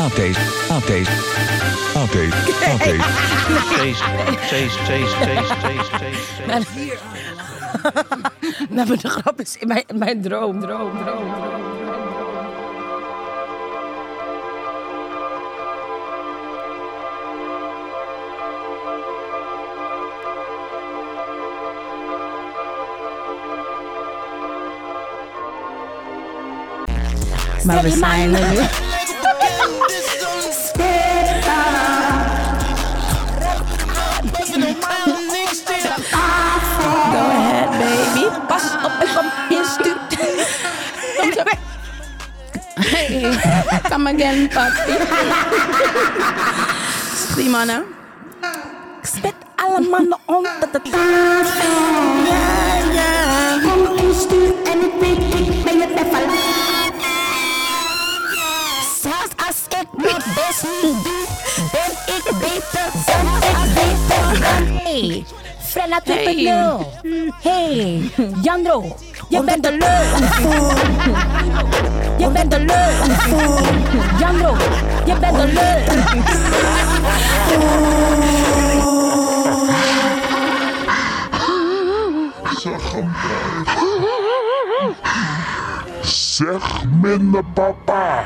Update. Update. Update. Update. Cees, Cees, Cees, Cees, Cees, Cees, Cees. Mijn, nou, maar de grap is in mijn, mijn droom, droom, droom, droom. Maar we zijn er weer. Go ahead, baby. Pas op, ik kom in stuur. Come again, papi. Die mannen. Ik spit alle mannen onder de tafel. Kom in stuur en ik weet, ik ben het level. Zelfs als ik mijn best niet doe, ben ik beter dan ik beter dan. Hey, Frenna 2.0. Hey, Jandro, je bent de leuk. Je bent de leuk. Jandro, je bent de leuk. Zeg minder papa.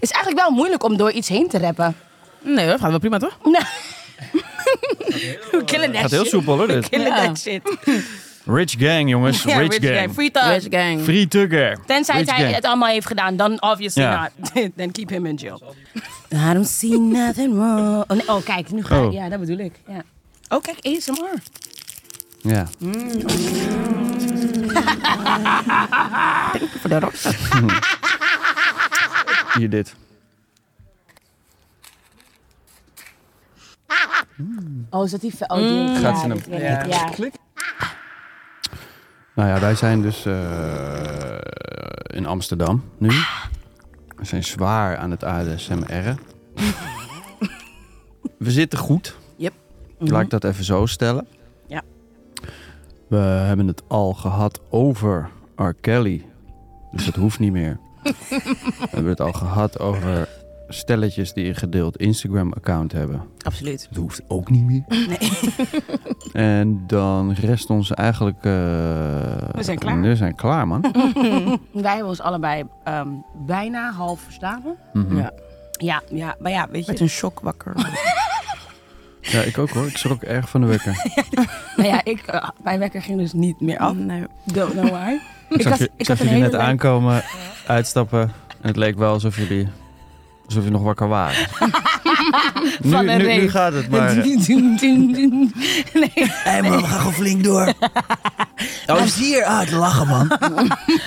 is eigenlijk wel moeilijk om door iets heen te rappen. Nee, dat gaat wel prima toch? Nou. We killen that Gaat heel shit. soepel hoor. We Dit. killen Ja. that shit. Rich gang jongens, Ja, rich, gang. Free talk. Rich gang. Free tugger. Tenzij Rich hij gang. het allemaal heeft gedaan, dan obviously Ja. not. Then keep him in jail. I don't see nothing wrong. Oh, nee. Oh, kijk, nu ga ik. Oh. Ja, dat bedoel ik. Ja. Oh, kijk, ASMR. Ja. Voor de rock. Hier dit. Oh, is dat die... Oh, die Mm. Gaat ja, ze hem- dat weet ik. Ja. Nou ja, wij zijn dus eh, in Amsterdam nu. Ah. We zijn zwaar aan het ASMR'en. We zitten goed. Yep. Mhm. Laat ik dat even zo stellen. Ja. We hebben het al gehad over R. Kelly. Dus dat hoeft niet meer. We hebben het al gehad over stelletjes die een gedeeld Instagram-account hebben. Absoluut. Dat hoeft ook niet meer. En dan rest ons eigenlijk... eh, We zijn klaar. We zijn klaar, man. Wij hebben ons allebei ehm, bijna half verslagen. Mhm. Ja. ja. Ja. Ja, maar ja, weet je. een shock wakker. ik ook hoor. Ik schrok erg van de wekker. nou ja, ik, eh, mijn wekker ging dus niet meer af. Nee. Don't know why. Ik zag, had- je, ik zag had een jullie net hele leuke- aankomen, uitstappen. En het leek wel alsof jullie... Alsof je nog wakker waren. Van nu, een nu, nu reef. gaat het maar. eh. Dun, dun, dun, dun. nee, Hé man, we gaan gewoon flink door. Oh, is hier. Ah, het lachen man.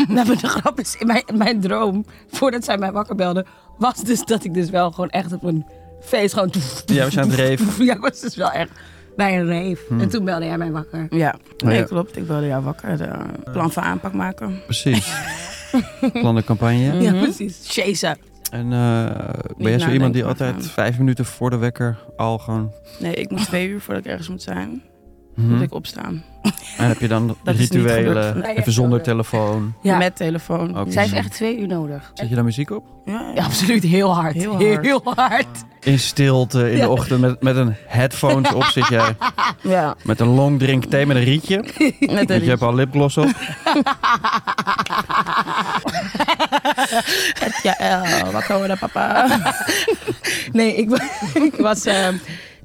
nou, maar de grap is, in mijn, mijn droom, voordat zij mij wakker belde, was dus dat ik dus wel gewoon echt op een feest gewoon... Ja, we zijn aan het reven. Hm. Ja, ik was dus wel echt bij een rave. En toen belde jij mij wakker. Ja, Oh, nee, ja. klopt. Ik wilde jou wakker. De, eh, plan van aanpak maken. Precies. Plan de campagne. Ja, precies. Chaser. En eh, ben jij zo nadenken, iemand die maar altijd gaan. vijf minuten voor de wekker al gewoon... Nee, ik moet twee uur voordat ik ergens moet zijn. Mhm. Moet ik opstaan. En heb je dan Dat is niet gelukt. rituelen, Nee, even zonder telefoon. Ja. Met telefoon. Ook Zij niet. heeft echt twee uur nodig. Zet je daar muziek op? Ja, Ja, absoluut. Heel hard. Heel Heel hard. hard. In stilte, in de Ja. ochtend, met, met een headphones op zit jij. ja. Met een long drink thee met een rietje. Met Want je een, hebt al lipgloss op. ja, eh, wat houden papa? nee, ik, wa- ik was... ehm,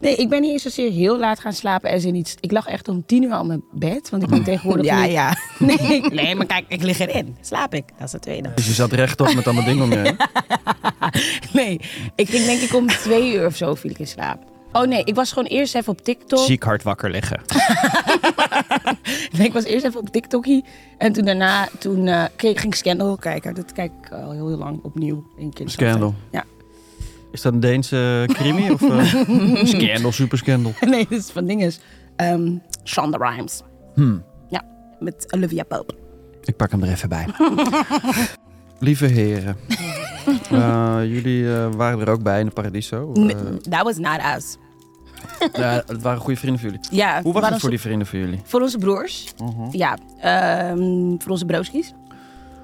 nee, ik ben niet eens zozeer heel laat gaan slapen. Er is niet, ik lag echt om tien uur al in mijn bed. Want ik ben tegenwoordig... Ja, niet- ja. Nee, nee, maar kijk, ik lig erin. Slaap ik. Dat is de tweede. Dus je zat rechtop met allemaal dingen om je heen. Nee, ik ging denk ik om twee uur of zo viel ik in slaap. Oh nee, ik was gewoon eerst even op TikTok. Ziek hard wakker liggen. Nee, ik was eerst even op TikTokie. En toen daarna, toen eh, keek- ging ik Scandal kijken. Dat kijk ik al heel, heel lang opnieuw. één keer in de Scandal. zoveel tijd. Is dat een Deense crimi? Of, eh, scandal, super scandal. Ja. Nee, dat is van dinges. Ehm Shonda Rhimes. Hmm. Ja, met Olivia Pope. Ik pak hem er even bij. Lieve heren. Eh, jullie eh, waren er ook bij in de Paradiso. Eh, N- That was not us. ja, het waren goede vrienden voor jullie. Ja, Hoe was waren het voor ze- die vrienden voor jullie? Voor onze broers. Mhm. Ja, ehm, voor onze broodskies.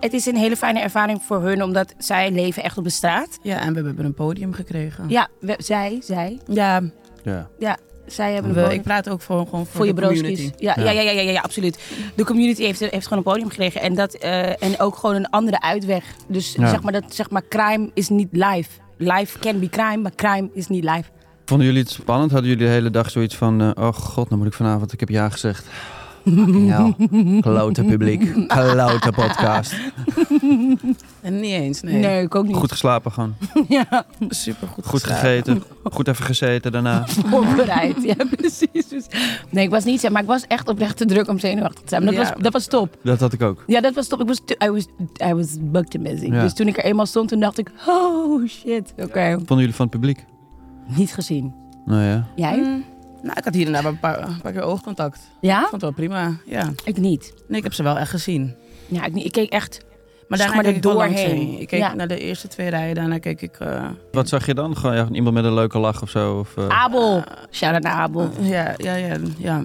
Het is een hele fijne ervaring voor hun, omdat zij leven echt op de straat. Ja, en we hebben een podium gekregen. Ja, we- zij, zij. Ja, Ja. Ja, zij hebben een we, podium. ik praat ook voor, gewoon voor, voor je de broodskies. community. Ja, ja. Ja, ja, ja, ja, absoluut. De community heeft, heeft gewoon een podium gekregen. En, dat, eh, en ook gewoon een andere uitweg. Dus Ja. zeg, maar dat, zeg maar, crime is niet live. Live can be crime, maar crime is niet live. Vonden jullie het spannend? Hadden jullie de hele dag zoiets van... eh, oh god, dan moet ik vanavond... Ik heb ja gezegd. Fucking hell. Klote publiek. Klote podcast. En niet eens, nee. Nee, ik ook niet. Goed geslapen gewoon. Ja, Super goed. Goed gegeten. Goed even gezeten daarna. voorbereid. ja, precies. Dus- nee, ik was niet, maar ik was echt oprecht te druk om zenuwachtig te zijn. Maar dat, Ja. was, dat was top. Dat had ik ook. Ja, dat was top. Ik was, te- I was, I was bugged and busy. Ja. Dus toen ik er eenmaal stond, toen dacht ik, oh shit. Oké, Vonden jullie van het publiek? niet gezien. Nou ja. Jij? Mm. Nou, ik had hier en daar wel een paar, een paar keer oogcontact. Ik Ja? vond het wel prima. Ja. Ik niet. Nee, ik heb ze wel echt gezien. Ja, ik, niet. ik keek echt Maar Zeg daarna maar keek er ik wel langs doorheen. heen. Ik keek Ja. naar de eerste twee rijen, daarna keek ik... eh, Wat zag je dan? Gewoon ja, iemand met een leuke lach of zo? Of, Ah. eh, Abel. Shout out naar Abel. ja, ja, ja, ja.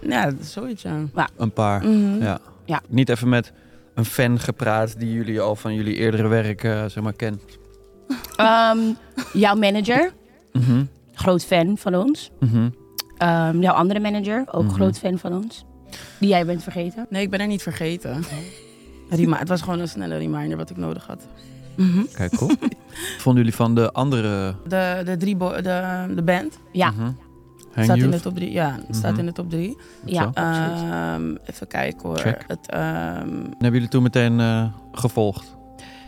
Ja, zoiets, ja. Een paar. Mhm. Ja. Ja. Niet even met een fan gepraat die jullie al van jullie eerdere werk eh, zeg maar kent. Ah. Ehm, jouw manager, Mhm. groot fan van ons. Mhm. Ehm, jouw andere manager, ook Mhm. groot fan van ons. Die jij bent vergeten. Nee, ik ben er niet vergeten. Rema- het was gewoon een snelle reminder wat ik nodig had. Kijk, cool. Vonden jullie van de andere... De, de, drie bo- de, de band Ja. Mhm. Hang staat in de Youth? top drie. Ja, staat Mhm. in de top drie. Ja, eh, Zo. absoluut. Ehm, even kijken hoor. Check. Het, ehm, En hebben jullie toen meteen eh, gevolgd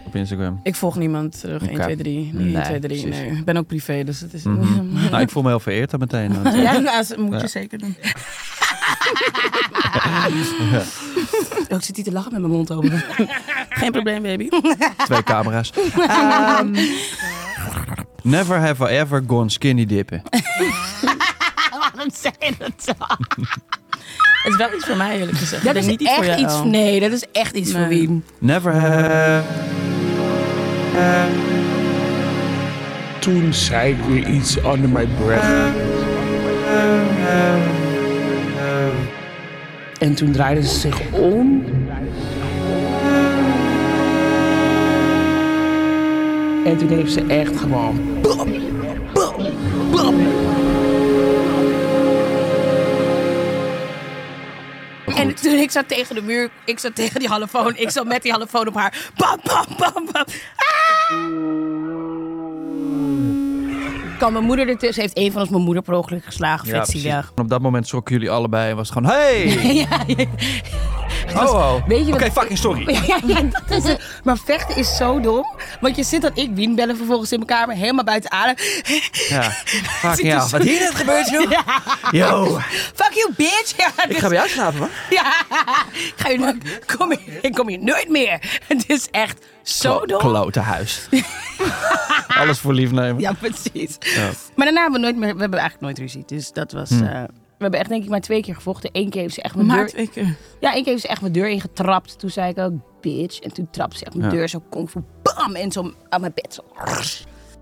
op Instagram? ik volg niemand terug. 1, Oké. 2, 3. Niet Nee, 1, 2, 3. precies. Nee, ik ben ook privé, dus het is... Mhm. nou, ik voel me heel vereerd dan meteen. want, eh, Ja, nou, dat moet Ja. je zeker doen. Oh, ik zit hier te lachen met mijn mond open. Geen probleem, baby. twee camera's. Ehm, never have I ever gone skinny dippen. Waarom zei je dat zo? Het is wel iets voor mij, eerlijk gezegd. Ik Dat denk is niet voor echt jou. iets... Nee, dat is echt iets voor Nee. Wien. Never have... Toen zei ik weer iets under my breath. En toen draaiden ze zich om. En toen heeft ze echt gewoon. bam, bam, bam. En toen ik zat tegen de muur, ik zat tegen die hallefoon, ik zat met die hallefoon op haar. Bam, bam, bam, bam. Ah! Kan mijn moeder ertussen, heeft een van ons mijn moeder per ongeluk geslagen, vet precies. zielig. En op dat moment schrokken jullie allebei en was het gewoon... Hey! Ja, ja, Oh, oh. Weet je Oké, wat- fucking sorry. ja, ja, dat is het. Maar vechten is zo dom. Want je zit dat ik wien bellen vervolgens in mijn kamer, helemaal buiten adem. Ja, fuck Zit er ja. zo- Wat hier net gebeurt, joh? Yo, Fuck you, bitch! Ja, ik dus- ga bij jou slapen, man. ja, ik ga je nooit- kom hier, ik kom hier nooit meer. Het is echt zo Klo- dom. Klote huis. Alles voor lief nemen. Hm. Ja, precies. Maar daarna hebben we nooit meer, we hebben eigenlijk nooit ruzie. Dus dat was, eh, We hebben echt denk ik maar twee keer gevochten. Eén keer heeft ze echt mijn Maar deur... twee keer? Ja, één keer heeft ze echt mijn deur ingetrapt. Toen zei ik ook, bitch. En toen trapte ze echt mijn Ja. deur zo kung fu, bam, en zo aan mijn bed. Zo.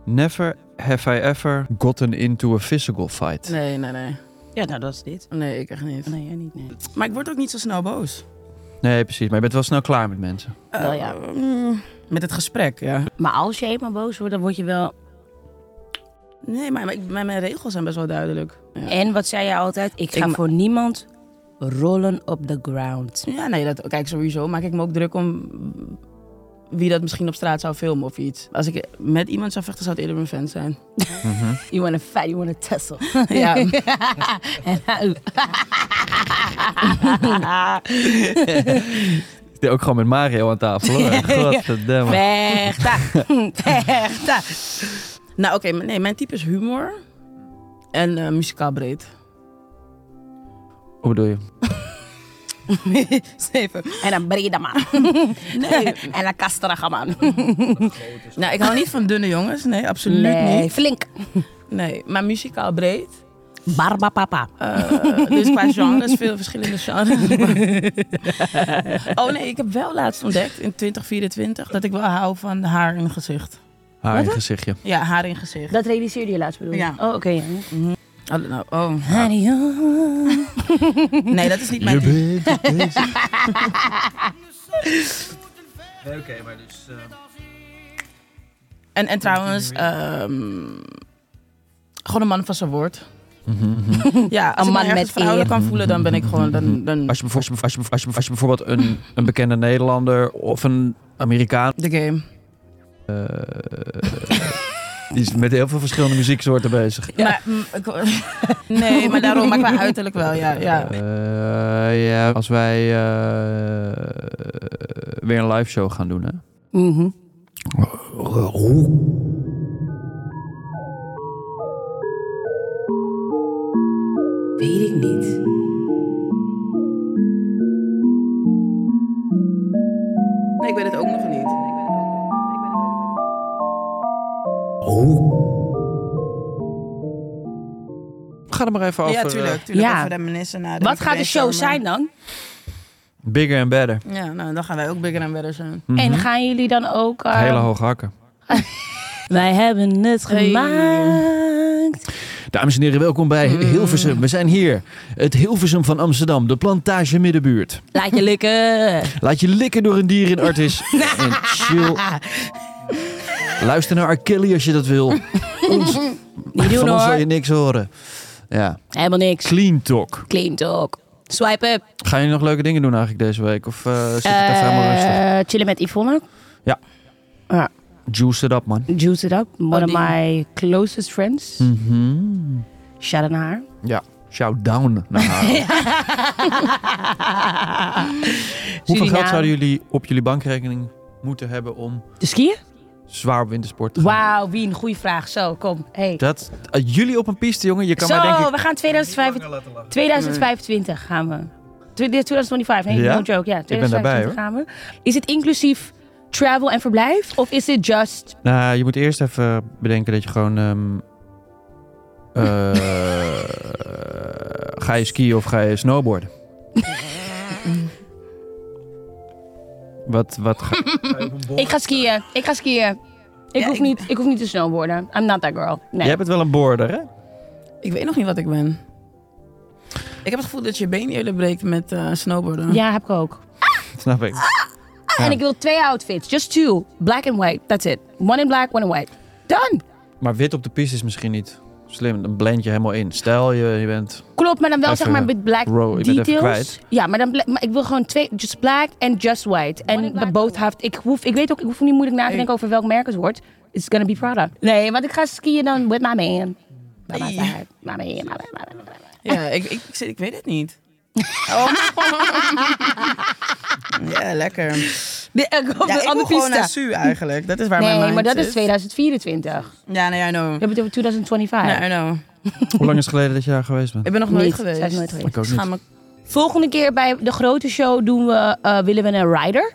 Never have I ever gotten into a physical fight. Nee, nee, nee. Ja, nou dat is dit. Nee, ik echt niet. Nee, jij niet, nee. Maar ik word ook niet zo snel boos. Eh, Nee, precies. Maar je bent wel snel klaar met mensen. Wel ja. mm, Met het gesprek, ja. Maar als je helemaal boos wordt, dan word je wel... Nee, maar, maar ik- mijn, mijn regels zijn best wel duidelijk. Ja. En wat zei jij altijd? Ik ga Ik ma- voor niemand rollen op de ground. Ja, nee, dat, kijk, sowieso maak ik me ook druk om wie dat misschien op straat zou filmen of iets. Als ik met iemand zou vechten, zou het eerder mijn fan zijn. You wanna fight, you wanna tussle. Ja. En nou- Ik deed ook gewoon met Mario aan tafel. Hoor. Godverdamme. Vechten. Vechten. nou, oké, maar nee, mijn type is humor en eh muzikaal breed. Hoe bedoel je? Zeven. En een brede man. En een kasterige man. Nou, ik hou niet van dunne jongens. Nee, absoluut Nee, niet. flink. Nee, maar muzikaal breed. Barba papa. Eh, dus qua genres, veel verschillende genres. oh nee, ik heb wel laatst ontdekt in 2024 dat ik wel hou van haar in gezicht. Haar in gezichtje. Ja, haar in gezicht. Dat realiseerde je laatst bedoel je? Ja. Oh, oké. ja. Oh, nou, oh. Nee, dat is niet mijn Je bent Oké, maar dus... En, en trouwens, ehm, gewoon een man van zijn woord. Mhm, Ja, als Een man een man met met vrouwelijk eer. kan voelen, dan ben ik gewoon... Dan, dan Als je, bijvoorbeeld, als je, als je, als je bijvoorbeeld een, een bekende Nederlander of een Amerikaan... de game. eh, die is met heel veel verschillende muzieksoorten bezig. Maar, mm, ik- nee, maar daarom, maar qua uiterlijk wel, ja. ja. Eh, ja, als wij eh, weer een live show gaan doen, hè? Mhm. Weet ik niet. Nee, ik weet het ook nog niet. Ga er maar even over. Ja, tuurlijk. tuurlijk Ja. Even reminiscen naar de Wat gaat de show zijn dan? eh, bigger and better. Ja, nou, dan gaan wij ook bigger en better zijn. Hm. En gaan jullie dan ook... eh, Hele hoge hakken. Wij hebben het Hey. gemaakt. Dames en heren, welkom bij Hmm. Hilversum. We zijn hier. Het Hilversum van Amsterdam, de plantage middenbuurt. Laat je likken. Laat je likken door een dier in Artis. en chill. Luister naar R. Kelly als je dat wil. Ons, Niet doen van ons zal hoor. je niks horen. Ja, Helemaal niks. clean talk. Clean talk. Swipe up. Ga je nog leuke dingen doen eigenlijk deze week? Of eh, zit het even helemaal rustig? Eh, chillen met Yvonne. Juice it up, man. Juice it up. One Oh, of die. my closest friends. Mhm. Shout out naar haar. Ja, shout down naar haar. Hoeveel geld Suriname. zouden jullie op jullie bankrekening moeten hebben om De skiën? zwaar op wintersport te gaan? Wauw, wie een goede vraag. Zo, kom. Hey. Dat, eh, jullie op een piste, jongen. Je kan Zo, maar denken. we gaan 2025, 2025 gaan we. Tw- 2025, nee, Ja? no joke. Ja, Ik ben daarbij, 2025 hoor. gaan we. Is het inclusief travel en verblijf? Of is het just... Nou, je moet eerst even bedenken dat je gewoon. ehm, eh, ga je skiën of ga je snowboarden? wat, wat ga- Ik ga skiën. Ik ga skiën. Ik, hoef, Niet, ik hoef niet te snowboarden. I'm not that girl. Nee. Jij bent wel een boarder, hè? Ik weet nog niet wat ik ben. Ik heb het gevoel dat je been eerder breekt met eh, snowboarden. Ja, heb ik ook. Snap ik. En ik wil twee outfits. Just two. Black and white. That's it. One in black, one in white. Done. Maar wit op de piste is misschien niet slim. Dan blend je helemaal in. Stel je, je bent. Klopt, maar dan wel Even zeg maar met black row, ik ben details. het even kwijt. Ja, maar dan bla- maar ik wil gewoon twee, just black en just white. En de boot heeft, ik hoef, ik weet ook, ik hoef niet moeilijk na te denken over welk merk het wordt. It's gonna be Prada. Nee, want ik ga skiën dan with my man. By my side. My man, my man, my man, my man. Ja, ik, ik, ik, zit- ik weet het niet. Oh. ja, lekker. Nee, ik hoop Ja, dat ik andere wil gewoon naar piste. Su eigenlijk. Dat is waar mijn Nee, mind maar dat zit. is 2024. Ja, nee, I know. We hebben het over 2025. Nee, I know. Hoe lang is het geleden dat je daar geweest bent? Ik ben nog nooit Niet, geweest. zij is nooit geweest. Ik ook Schaam niet. me- Volgende keer bij de grote show doen we, eh, willen we een rider.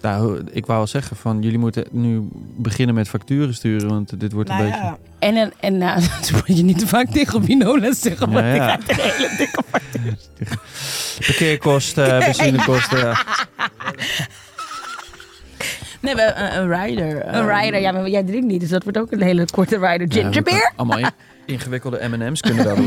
Nou, ik wou al zeggen van jullie moeten nu beginnen met facturen sturen, want dit wordt Nou Nou een beetje. En, en, en nou, dan word je niet te vaak tegen Binole zeggen, maar Ja, ik ja. krijg een hele dikke factuur. Parkeerkosten, benzinekosten. Nee, we hebben een, een rider. eh. Een rider, ja, maar jij drinkt niet, dus dat wordt ook een hele korte rider. Gingerbeer? Oh, Allemaal in- ingewikkelde MM's kunnen dat wel.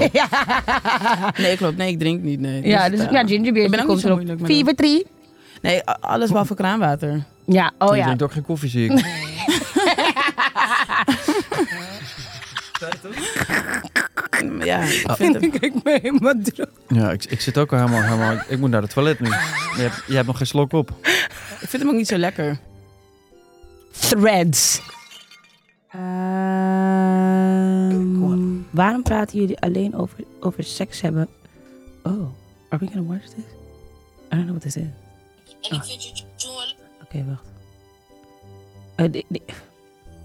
Nee, klopt. Nee, ik drink niet. Nee. Ja, dus eh, ja, gingerbeer Ik ben ook komt niet zo erop. moeilijk. met Vier voor drie. dat. Nee, a- alles behalve kraanwater. Ja, oh Je ja. drinkt ook geen koffie, zie ik. Ja, ik Oh. vind het. Kijk me helemaal droog. Ja, ik, ik zit ook al helemaal, helemaal. Ik moet naar het toilet nu. Je hebt, je hebt nog geen slok op. Ik vind hem ook niet zo lekker. Threads. Ehm, waarom praten jullie alleen over, over seks hebben? Oh, are we gonna watch this? I don't know what this is. Oh. En ik vind je toen, Oké, wacht. Eh, di- di-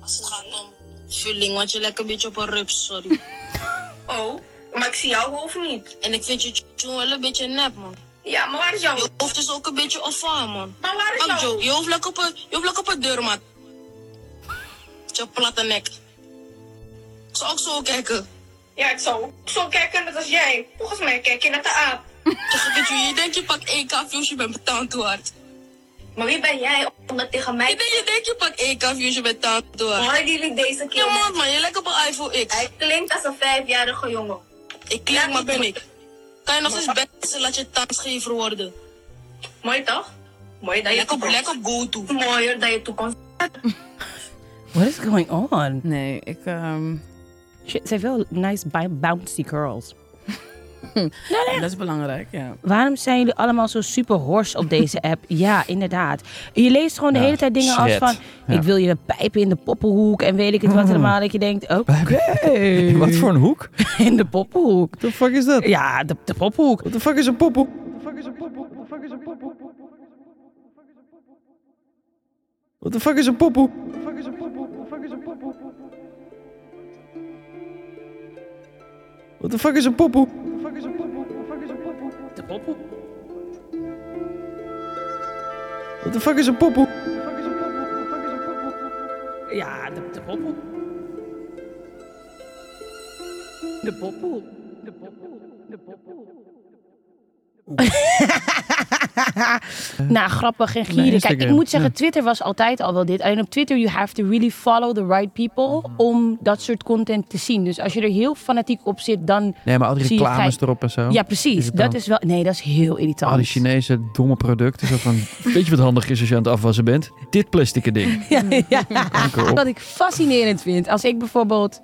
als het gaat om vulling, want je lijkt een beetje op een rups, sorry. oh, maar ik zie jouw hoofd niet. En ik vind je toen wel een beetje nep, man. Ja, maar waar is jouw Je hoofd is ook een beetje afval, man. Maar waar is jouw Je hoofd lijkt op een, je hoofd lijkt op een deurmat. Met je platte nek. Ik zou ook zo kijken. Ja, ik zou ook zo kijken, net als jij. Volgens mij kijk je naar de aap. je denkt je pakt één kafjes, je bent betaald te hard. Maar wie ben jij om dat tegen mij te Je denkt je pakt één kafjes, je bent betaald te hard. Horen jullie deze keer? Je mond man, je lijkt op een iPhone X. Hij klinkt als een vijfjarige jongen. Ik klink, maar ben ik. Kan je nog eens best laat je tand scheef worden? Mooi toch? Mooi dat je Lekker, toekomst- lekker go-to. Mooier dan je toekomst. What is going on? Nee, ik... ehm, Shit, ze heeft wel nice bi- bouncy girls. Dat is belangrijk, ja. Waarom zijn jullie allemaal zo super hors op deze app? ja, inderdaad. Je leest gewoon de hele tijd dingen als shit. van... Ja. Ik wil je pijpen in de poppenhoek en weet ik het Oh. wat Mm. helemaal. Dat je denkt, oké. Wat voor een hoek? In de poppenhoek. What the fuck is dat? Ja, de, de poppenhoek. What the fuck is een poppenhoek? What the fuck is een poppenhoek? What the fuck is een poppenhoek? De poppoe. What the fuck is een poppenhoek? Ja, de, de poppoe. De poppoe. De poppoe. De poppoe. nou, grappig en gierig. Kijk, ik Instagram, moet zeggen, ja. Twitter was altijd al wel dit. Alleen op Twitter, you have to really follow the right Oh. people om dat soort content te zien. Dus als je er heel fanatiek op zit, dan Nee, maar al die zie je reclames gei- erop en zo. Ja, precies. het dat dan- is wel... Nee, dat is heel irritant. Al die Chinese domme producten. Zo van, weet je wat handig is als je aan het afwassen bent? Dit plastic ding. Ja, ja. Kanker op. Wat ik fascinerend vind, als ik bijvoorbeeld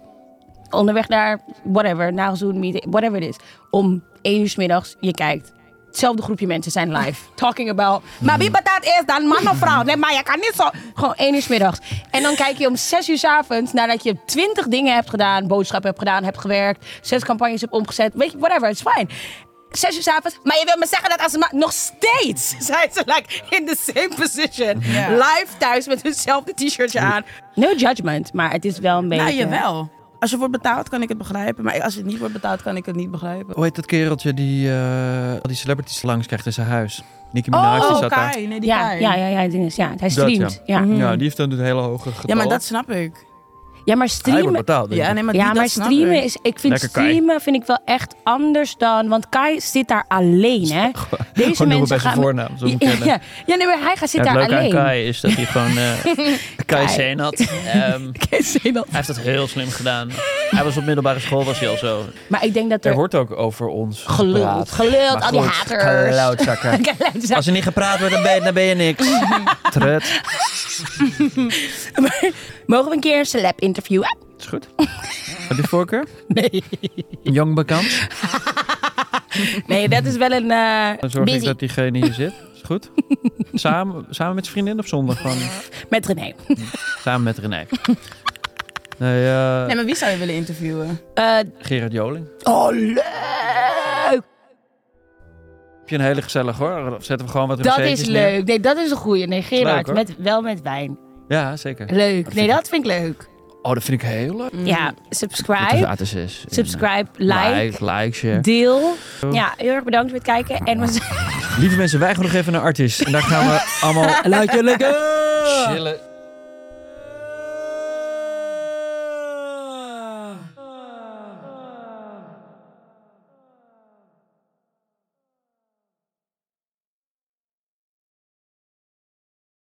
onderweg naar whatever, nagels doen, meeting, whatever it is, om één uur 's middags, je kijkt. Hetzelfde groepje mensen zijn live. Talking about. Maar wie betaalt eerst dan? Man of vrouw? Nee, maar je kan niet zo. Gewoon één uur 's middags. En dan kijk je om zes uur 's avonds nadat je twintig dingen hebt gedaan. Boodschappen hebt gedaan, hebt gewerkt. Zes campagnes hebt omgezet. Weet je, whatever, it's fine. Zes uur 's avonds. Maar je wil me zeggen dat als ze maar. Nog steeds zijn ze like in the same position. Live thuis met hunzelfde t-shirtje aan. No judgment, maar het is wel een beetje. Nou, jawel. Als je wordt betaald, kan ik het begrijpen. Maar als je niet wordt betaald, kan ik het niet begrijpen. Hoe heet dat kereltje die eh, al die celebrities langs krijgt in zijn huis? Nicki Minaj Oh, Oh, die zat daar. Nee, ja, ja, ja, ja, het ding is, ja, hij Dat, streamt. ja. Mhm. ja. Ja, die heeft dan een hele hoge getal. Ja, maar dat snap ik. Ja, maar streamen. wordt betaald, denk ik. ja, Ja, nee, maar, maar die- dat snap streamen ik. is. Ik vind Lekker Kai. streamen vind ik wel echt anders dan. Want Kai zit daar alleen, hè? Gewoon noemen bij zijn voornaam, zo Ja, moet ik kennen. ja, ja, nee, maar hij gaat zit Ja, het daar leuke alleen. aan Kai is dat hij gewoon... eh Kai. Kai Seenat. ehm, hij heeft dat heel slim gedaan. Hij was op middelbare school, was hij al zo. Maar ik denk dat Er er. wordt ook over ons Geluld, gepraat. geluld, Maar al die goed, haters. geluidzakken. Geluidzakken. Als er niet gepraat wordt, dan ben je, dan ben je niks. Tred. Mogen we een keer een celeb interviewen? Is goed. Heb je voorkeur? Nee. Jong bekend? Nee, dat is wel een. eh Dan zorg ik busy. dat diegene hier zit. Is goed. Samen, samen met zijn vriendin of zonder? Gewoon Met René. samen met René. Nee, eh, Nee, maar wie zou je willen interviewen? Gerard Joling. Eh, oh, leuk! Heb je een hele gezellig hoor. Zetten we gewoon wat Dat recensies is neer. leuk. Nee, dat is een goeie. Nee, Gerard, Leuk, hoor. met, wel met wijn. Ja, zeker. Leuk. Nee, dat vind ik leuk. Oh, dat vind ik heel leuk. Ja, Dat het subscribe. gratis is. Subscribe, like, like, like, share. deel. Oh. Ja, heel erg bedankt voor het kijken. En we zijn... Lieve mensen, wij gaan nog even naar Artis. En daar gaan we allemaal... Laat je lekker! Chillen. Ah.